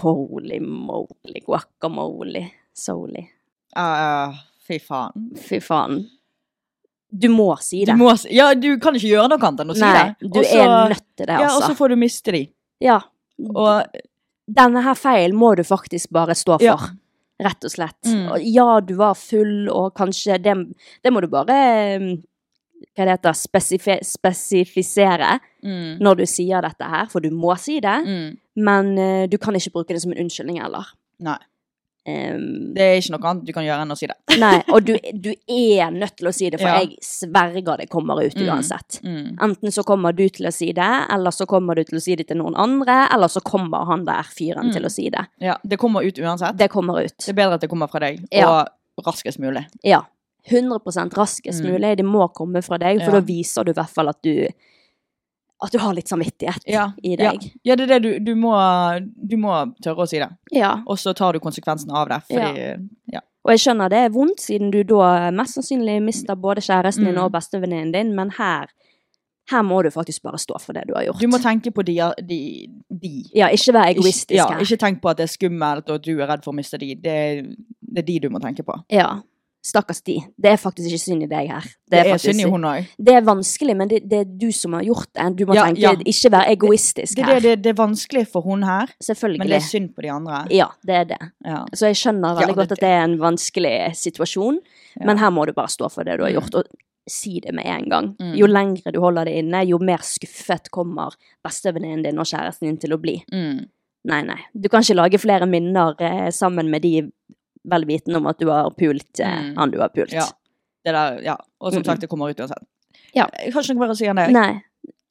Holy moly, guacamole, soli. Ah, fy faen. Fy faen. Du må si Du det. må, si- ja, du kan ikke gjøre noe annet enn å si Nei, det. du Og så- er nødt til det, Ja, og så altså. får du miste de. Ja, Og Denne her feilen må du faktisk bare stå for. ja, rett og slett. Mm. Og ja, du var full, og kanskje Det, det må du bare mm, Hva det heter spesifi- Spesifisere Mm. når du sier dette her, for du må si det. Mm. Men eh, du kan ikke bruke det som en unnskyldning heller. Nei. Ehm, Det er ikke noe annet du kan gjøre enn å si det. nei, og du, du er nødt til å si det, for Ja. jeg sverger det kommer ut Mm. uansett. Mm. Enten så kommer du til å si det, eller så kommer du til å si det til noen andre, eller så kommer han der fyren Mm. til å si det. Ja, det kommer ut uansett. Det kommer ut. Det er bedre at det kommer fra deg, Ja. og raskest mulig. Ja. 100 raskest Mm. mulig. Det må komme fra deg, for Ja. da viser du i hvert fall at du at du har litt samvittighet Ja, i deg. Ja, det er det du, du må Du må tørre å si det, Ja. og så tar du konsekvensen av det, fordi Ja. Og jeg skjønner det er vondt, siden du da mest sannsynlig mister både kjæresten din Mm. og bestevenninnen din, men her, her må du faktisk bare stå for det du har gjort. Du må tenke på de, de, de. ja, ikke være egoistisk Ikke, ja, her. ikke tenk på at det er skummelt og at du er redd for å miste de. Det, er- det er de du må tenke på. Ja. Stakkars de. Det er faktisk ikke synd i deg her. Det er, faktisk- synd i hun òg. Det er vanskelig, men det, det er du som har gjort det. Du må Ja, tenke ja. Ikke være egoistisk Det, det, her. det, det er vanskelig for hun her, Selvfølgelig. men det er synd på de andre. Ja, det er det. Ja. Så jeg skjønner Ja, veldig det- godt at det er en vanskelig situasjon, Ja. men her må du bare stå for det du har Mm. gjort, og si det med en gang. Mm. Jo lengre du holder det inne, jo mer skuffet kommer bestevenninnen din og kjæresten din til å bli. Mm. Nei, nei. Du kan ikke lage flere minner eh, sammen med de vel vitende om at du har pult eh, Mm. han du har pult. Ja. Det der, ja. Og som Mm-mm. sagt, det kommer ut uansett. Ja. Jeg har ikke noe mer å si enn det. Nei.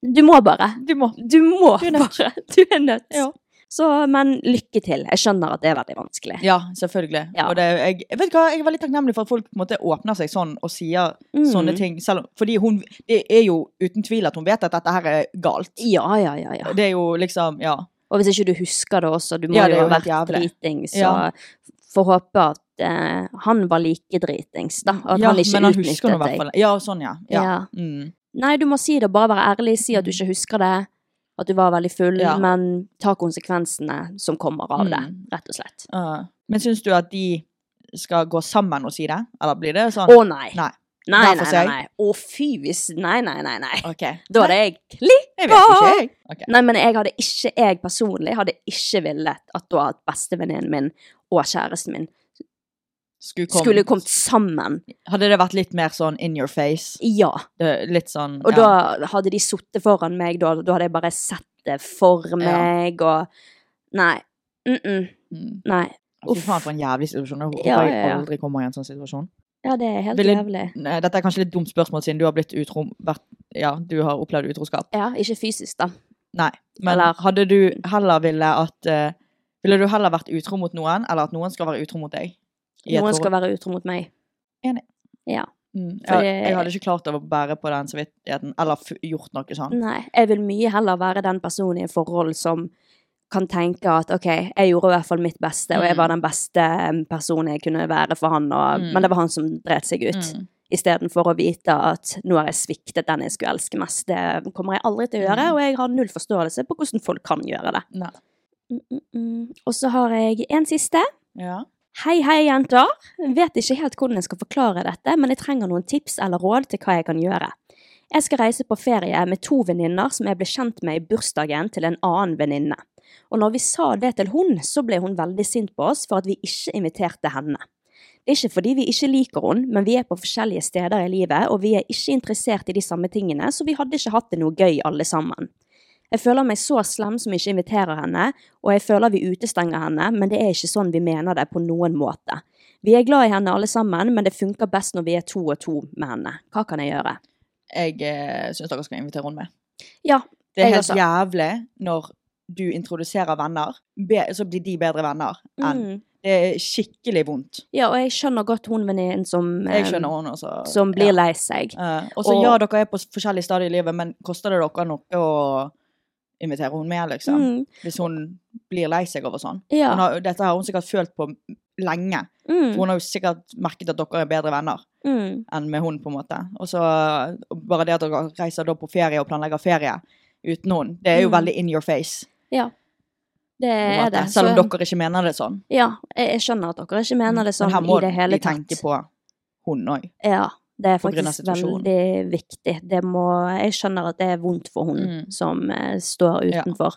Du må bare. Du må. Du må Du er nødt. bare. Du er nødt. Ja. Så, men lykke til. Jeg skjønner at det er veldig vanskelig. Ja, selvfølgelig. Ja. Og det, jeg, jeg vet hva, jeg er veldig takknemlig for at folk på en måte åpner seg sånn og sier Mm. sånne ting. Selv om, fordi hun, det er jo uten tvil at hun vet at dette her er galt. Ja, ja, ja. ja. Det er jo liksom, ja. Og hvis ikke du husker det også, du må Ja, det er jo jo helt ha vært jævlig. dritings, så Ja. får håpe at eh, han var like dritings, da. At ja, han ikke men han husker nå i utnyttet hvert deg. fall. Ja, sånn, ja. ja. Ja. Mm. Nei, du må si det, bare være ærlig, si at du ikke husker det, at du var veldig full, Ja. men ta konsekvensene som kommer av det, Mm. rett og slett. Uh, men syns du at de skal gå sammen og si det? Eller blir det sånn? Å nei. Nei. Nei, Hver nei, for nei, seg. nei. Å fy, hvis Nei, nei, nei, nei. Ok. Da hadde jeg klikk! Jeg vet ikke, jeg. Ok. Nei, men jeg hadde ikke, jeg personlig hadde ikke villet at da at bestevenninnen min og kjæresten min Skulle kom. skulle kommet sammen. Hadde det vært litt mer sånn in your face? Ja. Det- Litt sånn Og ja. da hadde de sittet foran meg, da, da hadde jeg bare sett det for meg, og Nei. Mm -mm, Mm. nei. Fy faen, for en jævlig situasjon. Jeg håper Ja, ja, jeg ja. aldri kommer i en sånn situasjon. Ja, det er helt Ville- jævlig. Nei, Dette er kanskje litt dumt spørsmål, siden du har blitt utro vært, Ja, du har opplevd utroskap. Ja, ikke fysisk, da. Nei. Men Eller- hadde du heller ville at eh, Ville du heller vært utro mot noen, eller at noen skal være utro mot deg? Noen skal være utro mot meg. mm. fordi- jeg, jeg hadde ikke klart å bære på den samvittigheten, eller f gjort noe sånn. Nei. Jeg vil mye heller være den personen i et forhold som kan tenke at OK, jeg gjorde i hvert fall mitt beste, og jeg var den beste em, personen jeg kunne være for han, og, Mm. men det var han som dret seg ut. Mm. Istedenfor å vite at nå har jeg sviktet den jeg skulle elske mest. Det kommer jeg aldri til å gjøre, Mm. og jeg har null forståelse på hvordan folk kan gjøre det. Nei. Mm, mm, mm. Og så har jeg en siste. Ja. Hei, hei, jenter. Vet ikke helt hvordan jeg skal forklare dette, men jeg trenger noen tips eller råd til hva jeg kan gjøre. Jeg skal reise på ferie med to venninner som jeg ble kjent med i bursdagen til en annen venninne. Og når vi sa det til hun, så ble hun veldig sint på oss for at vi ikke inviterte henne. Det er ikke fordi vi ikke liker hun, men vi er på forskjellige steder i livet, og vi er ikke interessert i de samme tingene, så vi hadde ikke hatt det noe gøy alle sammen. Jeg føler meg så slem som ikke inviterer henne, og jeg føler vi utestenger henne, men det er ikke sånn vi mener det på noen måte. Vi er glad i henne alle sammen, men det funker best når vi er to og to med henne. Hva kan jeg gjøre? Jeg eh, syns dere skal invitere henne med. Ja, Det er jeg helt også. jævlig når du introduserer venner, be, så blir de bedre venner enn Mm. Det er skikkelig vondt. Ja, og jeg skjønner godt hun venninnen som, eh, Jeg skjønner hun også. som blir Ja. lei seg. Eh, og så Og- ja, dere er på s- forskjellige stadier i livet, men koster det dere noe å invitere hun med, liksom? Mm. Hvis hun blir lei seg over sånn. Ja. Hun har, dette har hun sikkert følt på lenge. For Mm. hun har jo sikkert merket at dere er bedre venner Mm. enn med hun, på en måte. Og så og bare det at dere reiser da på ferie og planlegger ferie uten hun, det er jo Mm. veldig in your face. Ja. Det på en er måte, det. Selv om Så- dere ikke mener det sånn. Ja, jeg, jeg skjønner at dere ikke mener det sånn Men her må i det hele de tenke tatt. på hun òg. Ja, det er på grunn av faktisk situasjonen. veldig viktig. Det må, jeg skjønner at det er vondt for hun Mm. som eh, står Ja. utenfor.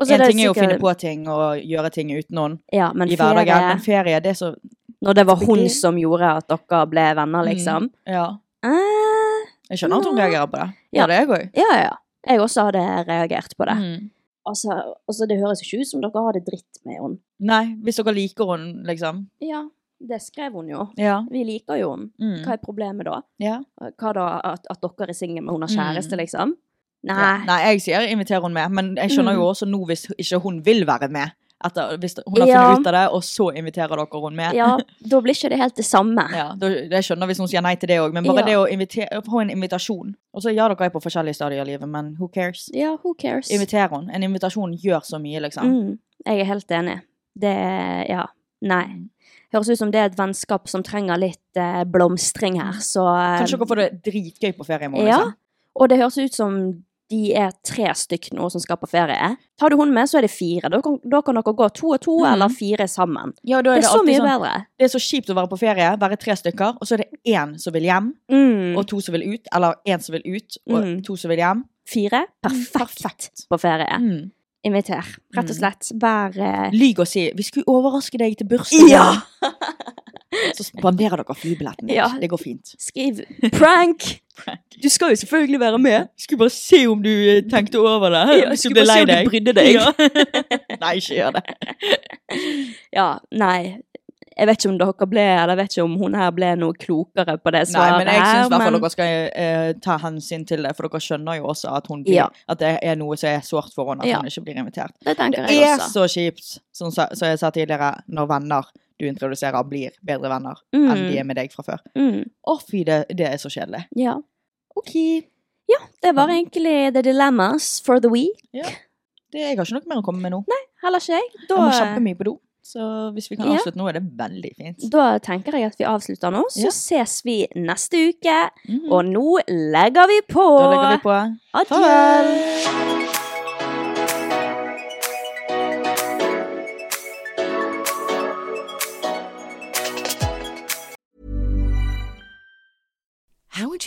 Og så En det ting er jo å sikkert- finne på ting og gjøre ting uten noen ja, men i hverdagen, ferie, men ferie, det er så Når det var hun Begynn. som gjorde at dere ble venner, Mm. liksom. Ja. Eh, Jeg skjønner at hun Ja. reagerer på det. Ja. Ja, det er jeg òg. ja, ja, ja. Jeg også hadde reagert på det. Mm. Altså, altså, det høres jo ikke ut som dere har det dritt med henne. Nei, hvis dere liker hun, liksom. Ja, det skrev hun jo. Ja. Vi liker jo henne. Mm. Hva er problemet da? ja. Hva da, at, at dere er single, men hun har kjæreste, Mm. liksom? Nei. Mm. Ja. Nei, jeg sier inviter hun med, men jeg skjønner jo også nå hvis ikke hun vil være med. Etter, hvis hun har Ja. funnet ut av det, og så inviterer dere hun med. Ja, da blir ikke det helt det samme. Ja, da- jeg skjønner hvis hun sier nei til det òg, men bare Ja. det å invitere, få en invitasjon. Og så ja, dere er på forskjellige stadier i livet, men who cares? Ja, who cares? Inviter hun. En invitasjon gjør så mye, liksom. Mm, jeg er helt enig. Det Ja. Nei. Høres ut som det er et vennskap som trenger litt eh, blomstring her, så eh, Mm. Kanskje dere får det dritgøy på ferie i morgen, Ja. liksom. Og det høres ut som de er tre stykk nå som skal på ferie. Tar du hun med, så er det fire. Da kan, da kan dere gå to og to, Mhm. eller fire sammen. Ja, da Det er det, er så alltid mye sånn, bedre. det er så kjipt å være på ferie, være tre stykker, og så er det én som vil hjem, Mm. og to som vil ut, eller én som vil ut, og Mm. to som vil hjem. Fire. Perfekt, perfekt. på ferie. Mm. Inviter. Rett og Mm. slett. Vær eh, Lyg og si 'vi skulle overraske deg til bursdagen'. Ja. så spanderer dere flybilletten din. Ja. Det går fint. Skriv prank! Du skal jo selvfølgelig være med. Skulle bare se om du eh, tenkte over det. Ja, skulle bare se om du brydde deg. Nei, ikke gjør det. Ja, nei. Jeg vet ikke om dere ble, eller jeg vet ikke om hun her ble noe klokere på det Nei, svaret men jeg syns i hvert her, fall men- dere skal eh, ta hensyn til det, for dere skjønner jo også at, hun blir, Ja. at det er noe som er sårt for henne, at Ja. hun ikke blir invitert. Det tenker Det jeg er også. så kjipt, som, sa- som jeg sa tidligere, når venner du introduserer, blir bedre venner enn de Mm, er med deg fra før. mm, Å, fy, det, det er så kjedelig. ja. OK. Det var egentlig The Dilemmas for the week. Det, jeg har ikke noe mer å komme med nå. Heller ikke jeg. Da, Jeg må kjempemye på do. Så hvis vi kan Ja. avslutte nå, er det veldig fint. da tenker jeg at vi avslutter nå, så Ja. ses vi neste uke. Mhm. Og nå legger vi på. Da legger vi på. Adjø. How would